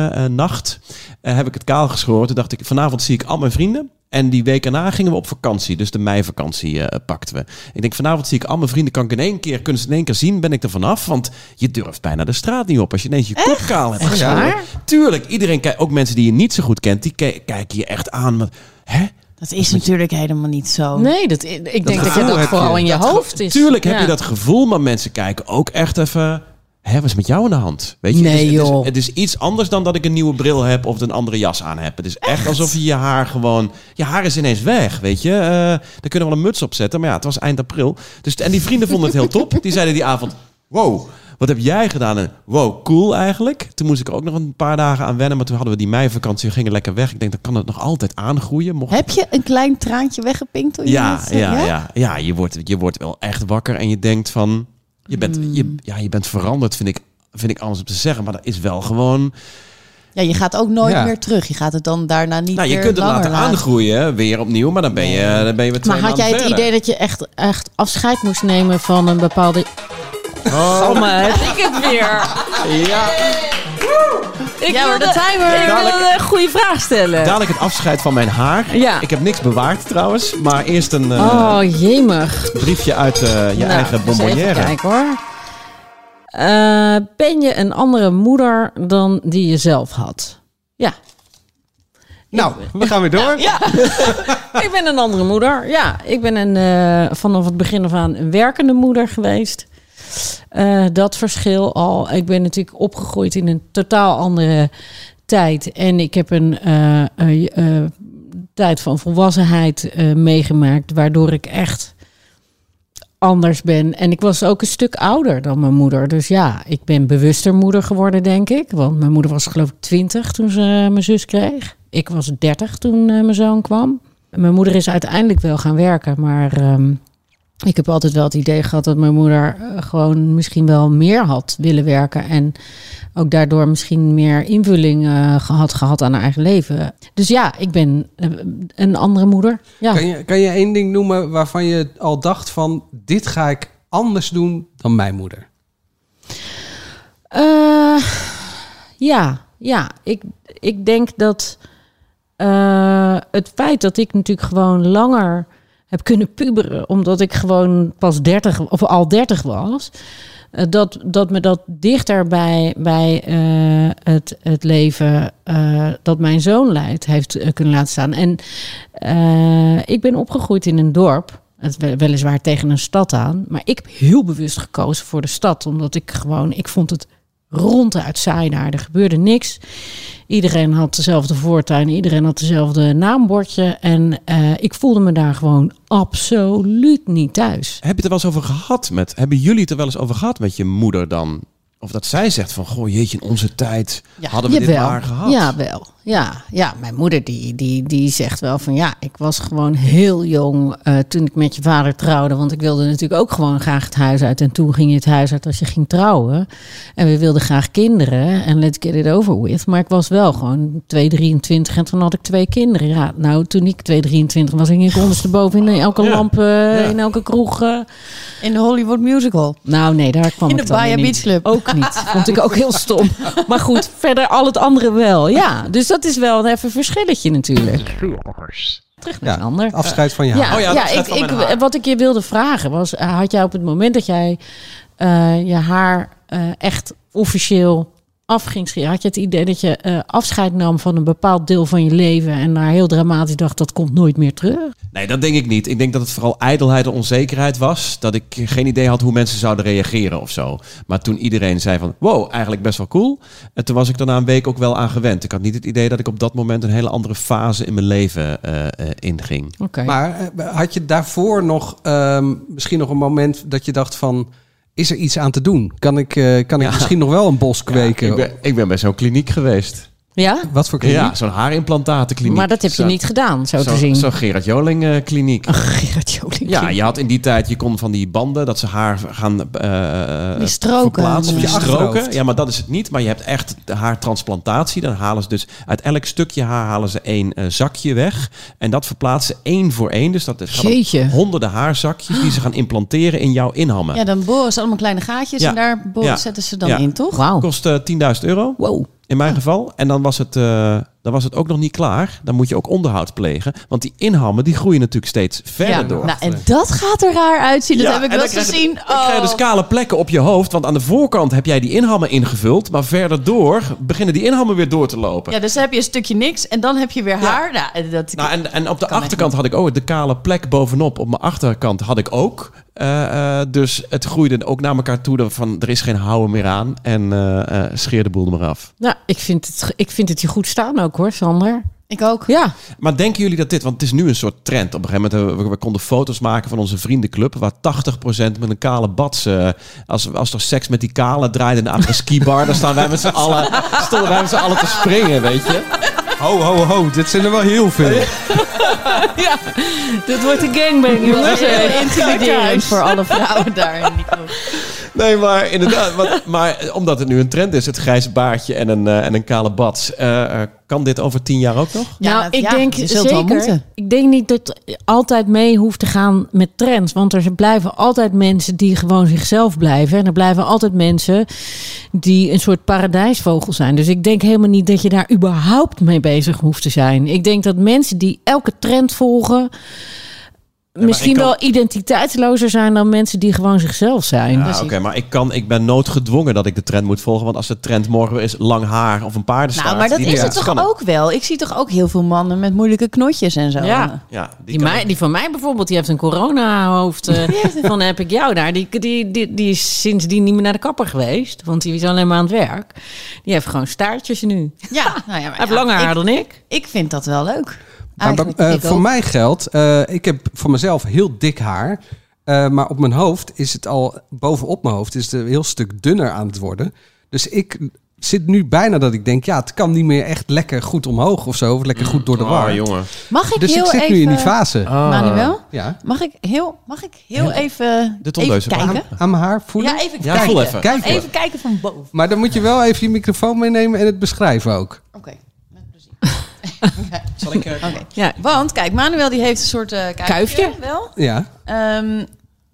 S5: Koninginnennacht. eh, heb ik het kaal geschoren. Toen dacht ik, vanavond zie ik al mijn vrienden. En die week erna gingen we op vakantie. Dus de meivakantie eh, pakten we. Ik denk, vanavond zie ik al mijn vrienden. Kan ik in één keer, kunnen ze in één keer zien, ben ik er vanaf. Want je durft bijna de straat niet op. Als je ineens je kop kaal hebt
S2: Echt
S5: geschoren.
S2: waar?
S5: Tuurlijk, iedereen kijkt, ook mensen die je niet zo goed kent, die ke- kijken je echt aan. Met, hè?
S3: Dat is natuurlijk helemaal niet zo.
S2: Nee, dat, ik denk dat,
S4: gevoel
S2: je dat
S4: heb je.
S2: vooral in je hoofd is.
S5: Tuurlijk heb
S2: Ja.
S5: je dat gevoel, maar mensen kijken ook echt even. Hè, wat is met jou aan de hand? Weet je,
S2: Nee,
S5: het, is, het is-
S2: joh.
S5: Het, is, iets anders dan dat ik een nieuwe bril heb of een andere jas aan heb. Het is echt, alsof je je haar gewoon. Je haar is ineens weg, weet je. Eh, daar kunnen we wel een muts op zetten, maar ja, het was eind april. Dus, en die vrienden vonden het heel top. Die zeiden die avond: Wow, wat heb jij gedaan? En wow, cool eigenlijk. Toen moest ik er ook nog een paar dagen aan wennen, maar toen hadden we die meivakantie. We gingen lekker weg. Ik denk, dan kan het nog altijd aangroeien. Mocht
S3: Heb je een klein traantje weggepinkt toen je
S5: ja,
S3: dat zei?
S5: ja, ja, ja. Je wordt, je wordt wel echt wakker en je denkt van... Je bent,
S2: Hmm.
S5: je, ja, je bent veranderd, vind ik, vind ik anders om te zeggen. Maar dat is wel gewoon...
S3: Ja, je gaat ook nooit
S4: Ja.
S3: meer terug. Je gaat het dan daarna niet
S5: Nou, je
S3: meer
S5: kunt het
S3: langer
S5: laten aangroeien, weer opnieuw. Maar dan ben je, dan ben je weer twee
S2: Maar had jij het idee dat je echt, echt afscheid moest nemen van een bepaalde... Oh, maar heb ik het weer.
S5: Ja,
S2: Ik
S3: Ja, maar
S2: wilde-
S3: dat zijn we.
S2: Ik
S5: Dadelijk-
S2: wilde een goede vraag stellen.
S5: dadelijk het afscheid van mijn haar.
S2: Ja.
S5: Ik heb niks bewaard trouwens. Maar eerst een eh,
S2: oh, jemig.
S5: briefje uit eh, je
S2: Nou,
S5: eigen
S2: eens Even
S5: bonbonnière.
S2: kijken hoor. Eh, ben je een andere moeder dan die je zelf had? Ja,
S4: Nou, we gaan weer door.
S2: Ja, ik ben een andere moeder. Ja, ik ben een, eh, vanaf het begin af aan een werkende moeder geweest. Eh, dat verschil al. Ik ben natuurlijk opgegroeid in een totaal andere tijd. En ik heb een eh, eh, eh, tijd van volwassenheid eh, meegemaakt, waardoor ik echt anders ben. En ik was ook een stuk ouder dan mijn moeder. Dus ja, ik ben bewuster moeder geworden, denk ik. Want mijn moeder was geloof ik twintig toen ze eh, mijn zus kreeg. Ik was dertig toen eh, mijn zoon kwam. En Mijn moeder is uiteindelijk wel gaan werken, maar ehm, ik heb altijd wel het idee gehad dat mijn moeder eh, gewoon misschien wel meer had willen werken. En ook daardoor misschien meer invulling eh, had gehad aan haar eigen leven. Dus ja, ik ben eh, een andere moeder. Ja.
S4: Kan je, kan je één ding noemen waarvan je al dacht van... dit ga ik anders doen dan mijn moeder?
S2: Eh, ja, ja. Ik, ik denk dat eh, het feit dat ik natuurlijk gewoon langer heb kunnen puberen, omdat ik gewoon pas 30 of al 30 was, eh, dat, dat me dat dichter bij, bij eh, het, het leven eh, dat mijn zoon leidt heeft eh, kunnen laten staan. En eh, ik ben opgegroeid in een dorp. Het we- weliswaar tegen een stad aan. Maar ik heb heel bewust gekozen voor de stad. Omdat ik gewoon, ik vond het ronduit saai daar. Er gebeurde niks. Iedereen had dezelfde voortuin. Iedereen had dezelfde naambordje. En eh, ik voelde me daar gewoon absoluut niet thuis.
S5: Heb je het er wel eens over gehad met... Hebben jullie het er wel eens over gehad met je moeder dan? Of dat zij zegt van... Goh, jeetje, in onze tijd hadden we dit
S2: Jawel.
S5: maar gehad.
S2: Ja, wel. Ja, ja, mijn moeder die, die, die zegt wel van ja, ik was gewoon heel jong eh, toen ik met je vader trouwde. Want ik wilde natuurlijk ook gewoon graag het huis uit. En toen ging je het huis uit als je ging trouwen. En we wilden graag kinderen. En let's get it over with. Maar ik was wel gewoon 2, 23 en toen had ik twee kinderen. Ja, nou, toen ik 2, 23 was, ging ik ondersteboven in elke
S5: Ja.
S2: lamp, eh,
S5: Ja.
S2: in elke kroeg. eh.
S3: In de Hollywood Musical.
S2: Nou nee, daar kwam
S3: In
S2: ik
S3: de
S2: dan
S3: Baia
S2: weer niet.
S3: Beach Club.
S2: Ook niet. Vond ik ook heel stom. Maar goed, verder al het andere wel. Ja, dus dat is wel even een verschilletje natuurlijk. Terug naar
S4: Ja,
S2: een ander.
S4: het afscheid van je haar.
S2: Ja,
S5: Oh ja,
S2: ja,
S5: dat gaat
S2: ik,
S5: van mijn
S2: ik,
S5: haar.
S2: wat ik je wilde vragen was, eh, had jij op het moment dat jij eh, je haar eh, echt officieel af ging scheren, had je het idee dat je eh, afscheid nam van een bepaald deel van je leven en daar heel dramatisch dacht, dat komt nooit meer terug?
S5: Nee, dat denk ik niet. Ik denk dat het vooral ijdelheid en onzekerheid was. Dat ik geen idee had hoe mensen zouden reageren of zo. Maar toen iedereen zei van, wow, eigenlijk best wel cool. En toen was ik daarna een week ook wel aan gewend. Ik had niet het idee dat ik op dat moment een hele andere fase in mijn leven eh, eh, inging.
S2: Oké.
S4: Maar eh, had je daarvoor nog ehm, misschien nog een moment dat je dacht van... Is er iets aan te doen? Kan ik, eh, kan ik
S5: Ja.
S4: misschien nog wel een bos kweken?
S5: Ik ben, ik ben bij zo'n kliniek geweest.
S2: ja?
S4: Wat voor kliniek?
S5: Ja, zo'n haarimplantatenkliniek.
S2: Maar dat heb je
S5: Zo-
S2: niet gedaan, zo,
S5: Zo'n
S2: te zien.
S5: zo'n Gerard Joling eh, kliniek.
S2: Ach, Gerard Joling.
S5: Ja, je had in die tijd, je kon van die banden, dat ze haar gaan eh,
S3: Die stroken.
S5: verplaatsen. Of
S4: Ja.
S5: die stroken.
S4: Achterhoofd.
S5: Ja, maar dat is het niet. Maar je hebt echt de haartransplantatie. Dan halen ze dus uit elk stukje haar halen ze één eh, zakje weg. En dat verplaatsen één voor één. Dus dat is gaan
S3: Jeetje.
S5: honderden haarzakjes die ze gaan implanteren in jouw inhammen.
S3: Ja, dan boren ze allemaal kleine gaatjes
S5: Ja.
S3: en daar boren-
S5: Ja.
S3: zetten ze dan
S5: Ja.
S3: in, toch?
S2: Wauw.
S5: Kost eh, 10.000 euro.
S2: Wow.
S5: In mijn geval. En dan was, het, eh, dan was het ook nog niet klaar. Dan moet je ook onderhoud plegen. Want die inhammen die groeien natuurlijk steeds verder
S3: Ja.
S5: door.
S3: Nou, en dat gaat er raar uitzien. Dat
S5: Ja,
S3: heb ik
S5: en
S3: wel
S5: dan
S3: eens
S5: krijg je-
S3: gezien.
S5: Dan krijg je dus
S3: Oh.
S5: kale plekken op je hoofd. Want aan de voorkant heb jij die inhammen ingevuld. Maar verder door beginnen die inhammen weer door te lopen.
S3: Ja, dus dan heb je een stukje niks en dan heb je weer haar. Nou, dat,
S5: Nou, en, en op de
S3: Kan echt
S5: achterkant had ik ook de kale plek bovenop. Op mijn achterkant had ik ook. Eh, eh, dus het groeide ook naar elkaar toe. dat Van, er is geen houden meer aan. En eh, eh, scheer de boel er maar af.
S2: Nou, ik vind, het, ik vind het je goed staan ook hoor, Sander.
S3: Ik ook.
S2: Ja,
S5: Maar denken jullie dat dit, want het is nu een soort trend. Op een gegeven moment hebben we, we konden foto's maken van onze vriendenclub. Waar 80% met een kale bats. eh, als, als er seks met die kale draait in de après-ski bar. dan staan wij met z'n allen, stonden wij met z'n allen te springen, weet je.
S4: Ho, ho, ho. Dit zijn er wel heel veel.
S2: ja. dit wordt een gangbang jongens.
S3: Heel intimiderend
S2: Kijk
S3: voor alle vrouwen daar in die groep.
S5: Nee, maar inderdaad. want- maar eh, omdat het nu een trend is, het grijze baardje en een, eh, en een kale bats. eh, eh, kan dit over tien jaar ook nog?
S3: Ja,
S2: nou,
S3: dat-
S2: ik
S3: ja,
S2: denk
S3: je zult wel
S2: zeker.
S3: moeten.
S2: Ik denk niet dat je altijd mee hoeft te gaan met trends. Want er blijven altijd mensen die gewoon zichzelf blijven. En er blijven altijd mensen die een soort paradijsvogel zijn. Dus ik denk helemaal niet dat je daar überhaupt mee bezig hoeft te zijn. Ik denk dat mensen die elke trend volgen. misschien
S5: ik kan-
S2: wel identiteitslozer zijn dan mensen die gewoon zichzelf zijn.
S5: Ja, Nou, oké, maar ik, kan, ik ben noodgedwongen dat ik de trend moet volgen. Want als de trend morgen weer is lang haar of een paardenstaart...
S3: Nou, maar dat
S5: die-
S3: is
S5: ja,
S3: het toch
S5: kan
S3: ook wel? Ik zie toch ook heel veel mannen met moeilijke knotjes en zo.
S2: Ja.
S5: Ja, die,
S2: Die,
S5: kan
S2: mij,
S5: ook.
S2: die van mij bijvoorbeeld, die heeft een corona-hoofd. eh, van heb ik jou daar. Die, die, die, die is sindsdien niet meer naar de kapper geweest. Want die is alleen maar aan het werk. Die heeft gewoon staartjes nu. Hij
S3: ja, nou ja, maar
S2: heeft
S3: ja,
S2: langer haar
S3: ik,
S2: dan ik.
S3: ik vind dat wel leuk.
S4: Maar
S3: Eigenlijk,
S4: bij- eh,
S3: ik
S4: voor
S3: ook.
S4: mij geldt, eh, ik heb voor mezelf heel dik haar. eh, maar op mijn hoofd is het al, bovenop mijn hoofd is het een heel stuk dunner aan het worden. Dus ik zit nu bijna dat ik denk, ja, het kan niet meer echt lekker goed omhoog of zo. Of lekker goed door de war.
S5: Oh, jongen. Ah.
S3: Mag ik
S4: dus
S3: heel
S4: ik zit
S3: even...
S4: nu in die fase.
S3: Ah. Manuel,
S4: Ja.
S3: mag ik heel, mag ik heel even,
S5: De
S3: even
S5: tondeuzen.
S3: kijken?
S4: Aan mijn haar voelen.
S3: Ja, even
S5: Ja,
S3: kijken.
S5: voel even.
S4: Kijk hoor.
S3: Even kijken van boven.
S4: Maar dan moet je wel even je microfoon meenemen en het beschrijven ook.
S3: Oké, met plezier.
S5: Zal ik... eh,
S3: Oké.
S2: Ja.
S3: Want kijk, Manuel die heeft een soort eh, kuifje,
S2: Kuifje?
S3: wel.
S4: Ja,
S3: Ehm,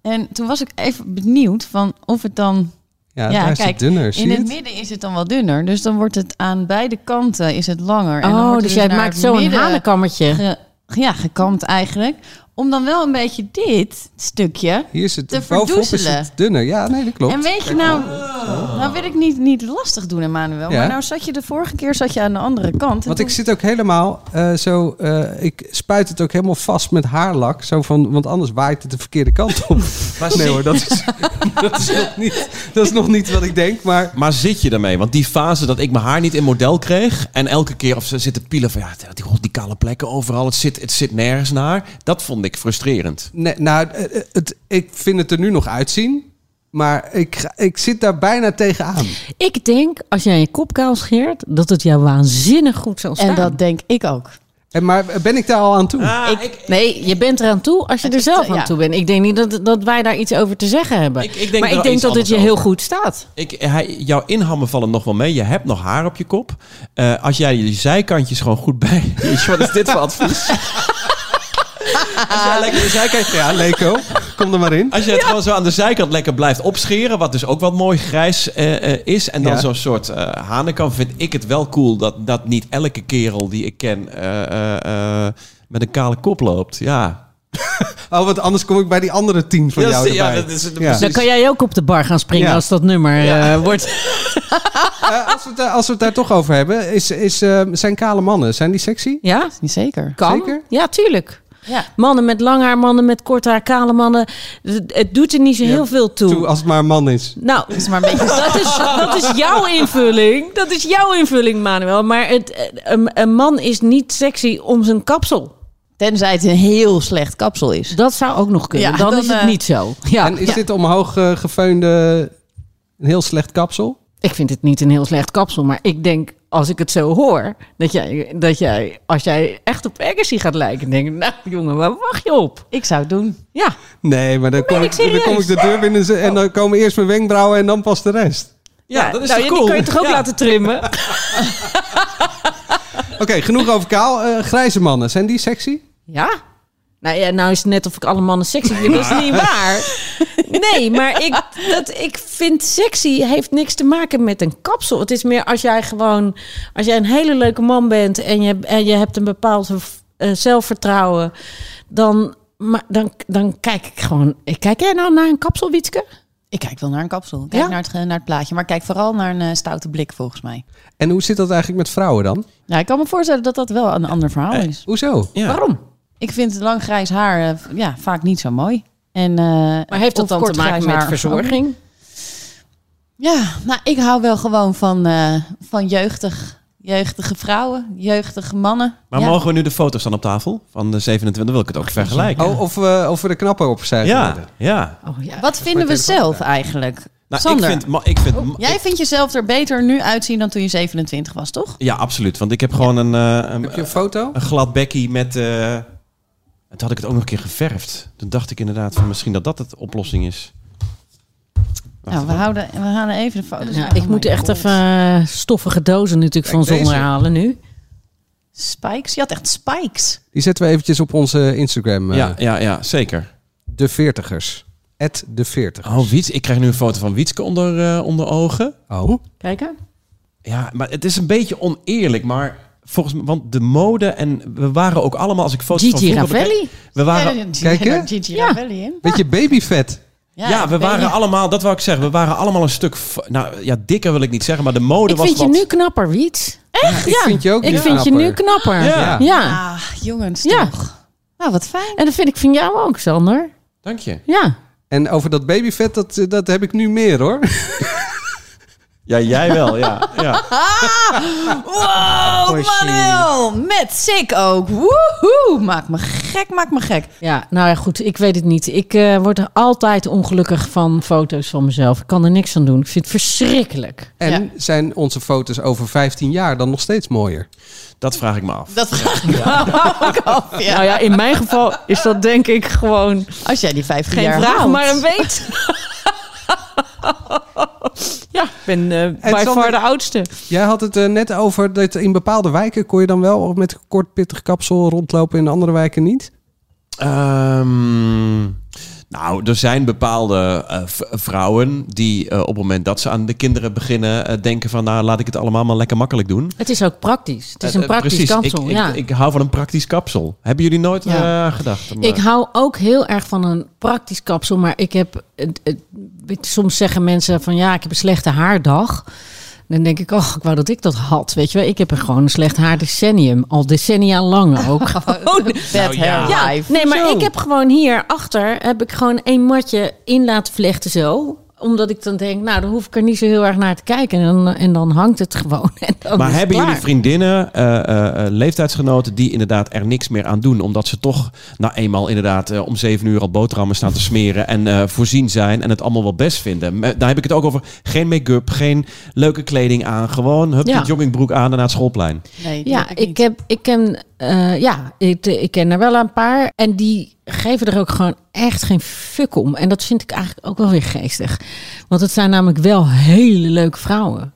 S3: en toen was ik even benieuwd van of het dan
S4: ja,
S3: Ja,
S4: daar is
S3: kijk,
S4: het dunner. Zie
S3: in
S4: je
S3: het
S4: het?
S3: midden is het dan wel dunner. Dus dan wordt het aan beide kanten is het langer. en dan
S2: Oh,
S3: wordt het
S2: dus jij
S3: naar
S2: maakt
S3: het
S2: zo een
S3: midden
S2: hanenkammertje.
S3: ge- ja, gekamd eigenlijk. Om dan wel een beetje dit stukje.
S4: Hier is het,
S3: te
S4: bovenop is
S3: verdoezelen.
S4: het dunner. Ja, nee, dat klopt. Oh.
S3: En weet je nou, nou wil ik niet, niet lastig doen, Emmanuel.
S4: Ja.
S3: Maar nou zat je de vorige keer zat je aan de andere kant. En
S4: Want ik
S3: toen-
S4: zit ook helemaal eh, zo. eh, ik spuit het ook helemaal vast met haarlak. Zo van, want anders waait het de verkeerde kant op.
S5: Maar,
S4: nee
S5: zie-
S4: hoor, dat is, dat, is nog niet, dat is nog niet wat ik denk. Maar
S5: maar zit je daarmee? Want die fase dat ik mijn haar niet in model kreeg... en elke keer of ze zitten pielen van... ja, die, die kale plekken overal, het zit, het zit nergens naar. Dat vond ik frustrerend.
S4: nee, nou, eh, eh, het, ik vind het er nu nog uitzien. Maar ik, ga- ik zit daar bijna tegenaan.
S2: Ik denk, als jij je kop kaal scheert, dat het jou waanzinnig goed zal staan.
S3: En dat denk ik ook.
S4: En, maar eh, ben ik daar al aan toe?
S5: ik, Ah, ik,
S2: Nee, je bent eraan toe als je
S3: Het
S2: er
S3: is
S2: zelf
S3: te-
S2: aan
S3: ja.
S2: toe bent. Ik denk niet dat, dat wij daar iets over te zeggen hebben.
S5: Ik- ik denk
S2: maar
S5: er
S2: ik
S5: wel
S2: denk
S5: iets
S2: dat het je
S5: anders
S2: heel
S5: over.
S2: goed staat.
S5: hij, jouw inhammen vallen nog wel mee. Je hebt nog haar op je kop. Eh, als jij je zijkantjes gewoon goed bij... Jeetje, wat is dit voor advies? als jij lekker je zijkantjes...
S4: Dus Ja, Leko, kom er maar in.
S5: Als je het gewoon zo aan de zijkant lekker blijft opscheren, wat dus ook wat mooi grijs eh, eh, is, en dan
S4: Ja.
S5: zo'n soort eh hanenkam, vind ik het wel cool dat, dat niet elke kerel die ik ken eh, eh, eh, met een kale kop loopt. Ja,
S4: Oh, want anders kom ik bij die andere tien van
S5: Ja,
S4: jou
S5: dat is- ja,
S4: erbij.
S5: dat is- dat
S4: Ja.
S2: Dan kan jij ook op de bar gaan springen
S4: Ja.
S2: als dat nummer eh, wordt.
S4: Eh, als, we het, daar- als we het daar toch over hebben, is, is, eh, zijn kale mannen, zijn die sexy?
S2: Ja,
S3: Niet zeker.
S2: kan.
S4: Zeker?
S2: Ja, tuurlijk.
S3: Ja.
S2: Mannen met lang haar, mannen met kort haar, kale mannen. Het het doet er niet zo heel veel toe.
S4: Toe, als het maar een man is.
S2: Nou,
S3: is maar een beetje...
S2: dat is, dat is jouw invulling. Dat is jouw invulling, Manuel. Maar het, eh, een, een man is niet sexy om zijn kapsel.
S3: Tenzij het een heel slecht kapsel is.
S2: Dat zou ook nog kunnen.
S3: Ja,
S2: dan,
S3: dan,
S2: is het
S3: eh,
S2: niet zo. Ja,
S4: en is dit omhoog eh, geveunde, een heel slecht kapsel?
S2: ik vind het niet een heel slecht kapsel. Maar ik denk, als ik het zo hoor, dat jij, dat jij als jij echt op Agassi gaat lijken, denk ik, nou jongen, waar wacht je op?
S3: Ik zou het doen.
S2: Ja,
S4: Nee, maar dan kom,
S2: ben
S4: ik,
S2: ik
S4: dan kom ik de deur binnen ze- en dan komen eerst mijn wenkbrauwen en dan pas de rest.
S5: Ja, dat is
S2: nou,
S5: toch
S2: ja,
S5: cool?
S2: Die kan je toch ook
S5: Ja.
S2: laten trimmen?
S4: Oké, genoeg over kaal. Eh, grijze mannen, zijn die sexy?
S2: Ja? Nou ja, nou is het net of ik alle mannen sexy vind. Dat is niet waar. Nee, maar ik, dat, ik vind sexy heeft niks te maken met een kapsel. Het is meer als jij gewoon... Als jij een hele leuke man bent en je, en je hebt een bepaald eh, zelfvertrouwen... Dan, maar, dan, dan kijk ik gewoon... Kijk jij nou naar een kapsel, Wietske?
S3: Ik kijk wel naar een kapsel. Ik Kijk
S2: Ja?
S3: naar, het, ge- naar het plaatje. Maar kijk vooral naar een eh, stoute blik, volgens mij.
S4: En hoe zit dat eigenlijk met vrouwen dan?
S3: Nou, ik kan me voorstellen dat dat wel een ander verhaal
S2: Eh.
S3: is.
S4: Hoezo?
S5: Ja.
S2: Waarom?
S3: Ik vind lang grijs haar eh, v- ja, vaak niet zo mooi. En, eh,
S2: Maar heeft dat
S3: of
S2: dan
S3: kort
S2: te maken
S3: grijs
S2: met
S3: haar of zo.
S2: verzorging?
S3: Ja, nou, ik hou wel gewoon van, eh, van jeugdig, jeugdige vrouwen, jeugdige mannen.
S5: Maar
S3: ja.
S5: mogen we nu de foto's dan op tafel van de 27? Dan wil ik het ook vergelijken.
S4: Oh, of, we of we er knapper op zijn
S5: ja,
S4: geworden.
S5: ja.
S2: Oh ja.
S3: Wat vinden we zelf eigenlijk?
S5: Nou, ik
S3: Sander,
S5: vind, ma- ik vind ma-
S3: jij vindt jezelf er beter nu uitzien dan toen je 27 was, toch?
S5: Ja, absoluut. Want ik heb gewoon een, eh, een,
S4: Heb je een foto?
S5: een glad bekkie met... eh, en toen had ik het ook nog een keer geverfd. Toen dacht ik inderdaad van misschien dat dat de oplossing is. Wacht
S3: Nou, we
S5: even.
S3: houden, we halen even de foto's.
S2: Ja,
S3: Oh
S2: ik
S3: my
S2: moet echt
S3: God.
S2: even eh, stoffige dozen natuurlijk van
S4: Kijk,
S2: zonder
S4: deze.
S2: halen nu.
S3: Spikes? Je had echt spikes.
S4: Die zetten we eventjes op onze Instagram. eh,
S5: Ja, ja, ja, zeker.
S4: De Veertigers. At de Veertigers.
S5: Oh, Wiets, ik krijg nu een foto van Wietske onder, eh, onder ogen.
S4: Oh.
S2: Kijk aan.
S5: Ja, maar het is een beetje oneerlijk, maar... Volgens mij, want de mode en we waren ook allemaal, als ik foto's van
S2: Gigi
S5: vroeger
S2: Ravelli.
S5: bekijk- We waren,
S3: Ja,
S4: Kijk, hè?
S3: Gigi
S2: Ja.
S3: Ravelli, hè?
S4: Beetje babyvet.
S5: Ja, we waren allemaal, dat wou ik zeggen, we waren allemaal een stuk, v- nou ja, dikker wil ik niet zeggen, maar de mode
S2: Ik
S5: was
S2: vind
S5: wat...
S2: je nu knapper, Wiet. Echt?
S4: ik vind je ook
S2: Ik
S4: nu
S2: vind je
S4: knapper.
S2: nu knapper.
S5: Ja.
S2: Ja.
S3: Ah, jongens,
S2: Ja.
S3: toch. Nou, wat fijn.
S2: En dat vind ik van jou ook, Sander.
S5: Dank je.
S2: Ja.
S4: En over dat babyvet, dat, eh, dat heb ik nu meer hoor.
S5: Ja, jij wel, ja. ja.
S3: Wow, Manuel! Met sick ook. Woehoe! Maak me gek, maak me gek.
S2: Ja, nou ja, goed. Ik weet het niet. Ik eh, word er altijd ongelukkig van foto's van mezelf. Ik kan er niks aan doen. Ik vind het verschrikkelijk.
S4: En zijn onze foto's over 15 jaar dan nog steeds mooier?
S5: Dat vraag ik me af.
S3: Dat vraag ik me ook af. Ja.
S2: Nou ja, in mijn geval is dat denk ik gewoon
S3: Als jij die 15
S2: geen
S3: jaar
S2: vraag,
S3: haalt.
S2: maar een weet. ja, ik ben eh bij
S4: Sander-
S2: far de oudste.
S4: Jij had het eh, net over dat in bepaalde wijken kon je dan wel met een kort pittig kapsel rondlopen en in andere wijken niet.
S5: Ehm, nou, er zijn bepaalde eh, v- vrouwen die eh, op het moment dat ze aan de kinderen beginnen, eh, denken van, nou, laat ik het allemaal maar lekker makkelijk doen.
S2: Het is ook praktisch. Het is een
S5: Eh, eh,
S2: praktisch
S5: precies.
S2: kansel.
S5: Ik, ik,
S2: ja.
S5: ik hou van een praktisch kapsel. Hebben jullie nooit
S3: Ja.
S5: eh, gedacht? om,
S2: Ik
S5: eh,
S2: hou ook heel erg van een praktisch kapsel. Maar ik heb. het- het- weet je, soms zeggen mensen van ja, ik heb een slechte haardag. Dan denk ik, oh, ik wou dat ik dat had. Weet je wel, ik heb er gewoon een slecht haardecennium. Al decennia lang ook. Gewoon-
S3: Oh, Bad hair
S2: ja,
S3: life.
S2: nee, maar
S4: Zo.
S2: ik heb gewoon hier achter heb ik gewoon één matje in laten vlechten zo omdat ik dan denk, nou, dan hoef ik er niet zo heel erg naar te kijken. En dan, en dan hangt het gewoon. En dan is
S5: maar
S2: het
S5: hebben
S2: klaar.
S5: jullie vriendinnen, eh, eh, eh, leeftijdsgenoten die inderdaad er niks meer aan doen? Omdat ze toch nou eenmaal inderdaad eh, om zeven uur al boterhammen staan te smeren en eh, voorzien zijn en het allemaal wel best vinden. Me- Daar heb ik het ook over geen make-up, geen leuke kleding aan. Gewoon hup,
S2: Ja.
S5: die joggingbroek aan en naar het schoolplein.
S3: Nee, die
S2: Ja,
S3: heb
S2: ik,
S3: niet.
S2: heb, ik ken, eh, ja, ik, ik ken er wel een paar. En die geven er ook gewoon echt geen fuck om. En dat vind ik eigenlijk ook wel weer geestig. Want het zijn namelijk wel hele leuke vrouwen.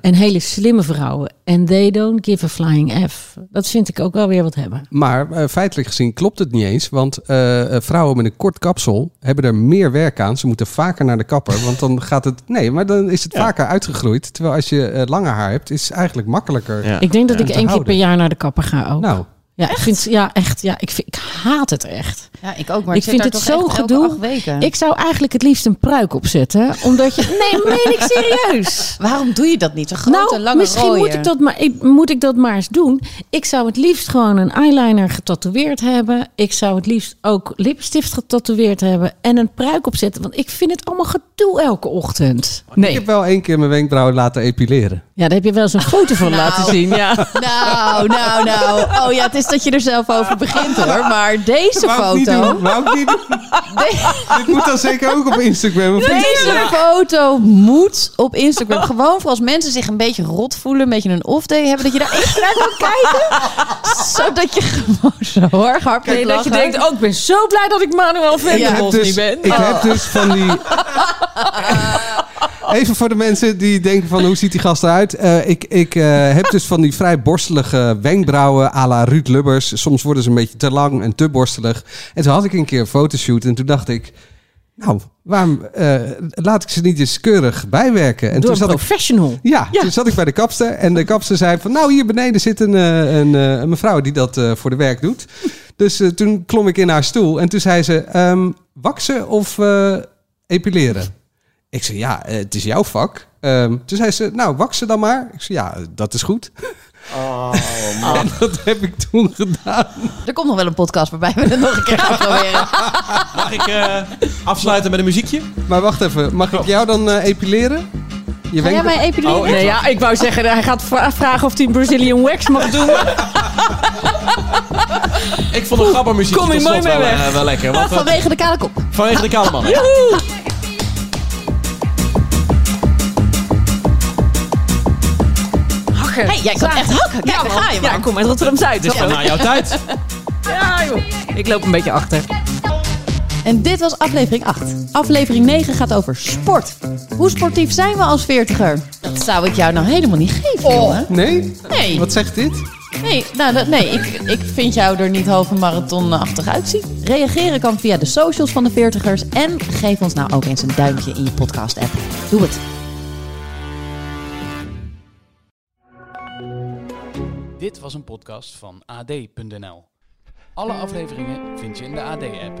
S2: En hele slimme vrouwen. En they don't give a flying F. Dat vind ik ook wel weer wat hebben.
S4: Maar eh, feitelijk gezien klopt het niet eens, want eh, eh, vrouwen met een kort kapsel hebben er meer werk aan. Ze moeten vaker naar de kapper, want dan gaat het. Nee, maar dan is het vaker uitgegroeid. Terwijl als je eh, lange haar hebt, is het eigenlijk makkelijker.
S5: Ja.
S2: Ik denk dat
S5: Ja.
S2: ik
S4: te
S2: één keer
S4: houden.
S2: per jaar naar de kapper ga ook.
S4: Nou,
S2: ja, ik vind, ja, echt. Ja, ik, vind, ik haat het echt.
S3: Ja, ik ook, maar
S2: Ik
S3: ik, zit
S2: vind
S3: daar
S2: het
S3: toch
S2: zo'n
S3: echt elke
S2: gedoe.
S3: acht weken.
S2: Ik zou eigenlijk het liefst een pruik opzetten. Omdat je... Nee, meen ik serieus.
S3: Waarom doe je dat niet? Een grote,
S2: nou,
S3: lange
S2: misschien
S3: rooier.
S2: moet ik, dat maar, ik, moet ik dat maar eens doen. Ik zou het liefst gewoon een eyeliner getatoeëerd hebben. Ik zou het liefst ook lipstift getatoeëerd hebben. En een pruik opzetten. Want ik vind het allemaal gedoe elke ochtend.
S4: Oh, Ik
S2: Nee.
S4: heb wel één keer mijn wenkbrauwen laten epileren.
S2: Ja, daar heb je wel eens een foto van
S3: Nou.
S2: laten zien. Ja.
S3: Nou, nou, nou. Oh ja, het is dat je er zelf over begint hoor. Maar deze
S4: Wou ik niet
S3: foto...
S4: doen, wou ik niet doen.
S3: de-
S4: Dit moet dan zeker ook op Instagram. Of
S3: Deze foto moet op Instagram. Gewoon voor als mensen zich een beetje rot voelen, een beetje een off-day hebben, dat je daar echt naar kan kijken. Zodat je gewoon zo hoor, hard
S2: Nee,
S3: moet
S2: dat je
S3: lachen.
S2: denkt, oh, ik ben zo blij dat ik Manuel Venderbos
S4: dus,
S2: niet Oh. ben.
S4: ik heb dus van die. Even voor de mensen die denken van hoe ziet die gast eruit. Eh, ik ik eh, heb dus van die vrij borstelige wenkbrauwen à la Ruud Lubbers. Soms worden ze een beetje te lang en te borstelig. En toen had ik een keer een fotoshoot en toen dacht ik... Nou, waarom eh, laat ik ze niet eens keurig bijwerken? En
S2: Door
S4: toen
S2: een
S4: zat ik
S2: professional.
S4: ja,
S2: Ja.
S4: toen zat ik bij de kapster en de kapster zei van... nou, hier beneden zit een, eh, een, eh, een mevrouw die dat eh, voor de werk doet. Dus eh, toen klom ik in haar stoel en toen zei ze... ehm waksen of eh, epileren? Ik zei, ja, eh, het is jouw vak. Ehm, toen zei ze, nou, waksen dan maar. Ik zei, ja, eh, dat is goed. En dat heb ik toen gedaan.
S3: oh, Er komt nog wel een podcast waarbij we het nog een keer gaan proberen.
S5: Mag ik eh, afsluiten met een muziekje?
S4: Maar wacht even, mag ik jou dan eh, epileren? Je
S3: Ga jij
S4: wenkt-
S3: mij epileren?
S4: Oh,
S2: Nee, ja, ik wou zeggen, hij gaat vra- vragen of hij een Brazilian wax mag doen.
S5: Ik vond een grappig muziekje
S2: kom je
S5: tot
S2: mooi
S5: slot
S2: mee
S5: wel,
S2: weg.
S5: eh, wel lekker. Want, eh,
S3: Vanwege de kale kop.
S5: vanwege de kale man.
S2: Hakken.
S3: Hey, jij kan echt hakken. Kijk, daar ga je
S2: Ja,
S3: man.
S2: ik kom uit Rotterdam-Zuid. Dus
S5: Nou, jouw tijd.
S2: Ja, joh. Ik loop een beetje achter.
S3: En dit was aflevering 8. Aflevering 9 gaat over sport. Hoe sportief zijn we als veertiger? Dat zou ik jou nou helemaal niet geven, jongen.
S4: Nee?
S3: Nee.
S4: Wat zegt dit?
S3: Nee, nou, dat, nee ik, ik vind jou er niet halve marathonachtig uitzien. Reageren kan via de socials van de Veertigers. En geef ons nou ook eens een duimpje in je podcast-app. Doe het.
S1: Dit was een podcast van AD.nl. Alle afleveringen vind je in de AD-app.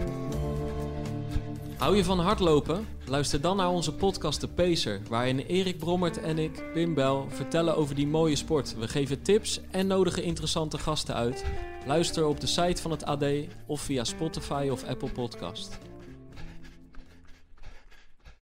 S8: Hou je van hardlopen? Luister dan naar onze podcast De Pacer, waarin Erik Brommert en ik, Pim Bel, vertellen over die mooie sport. We geven tips en nodigen interessante gasten uit. Luister op de site van het AD of via Spotify of Apple Podcast.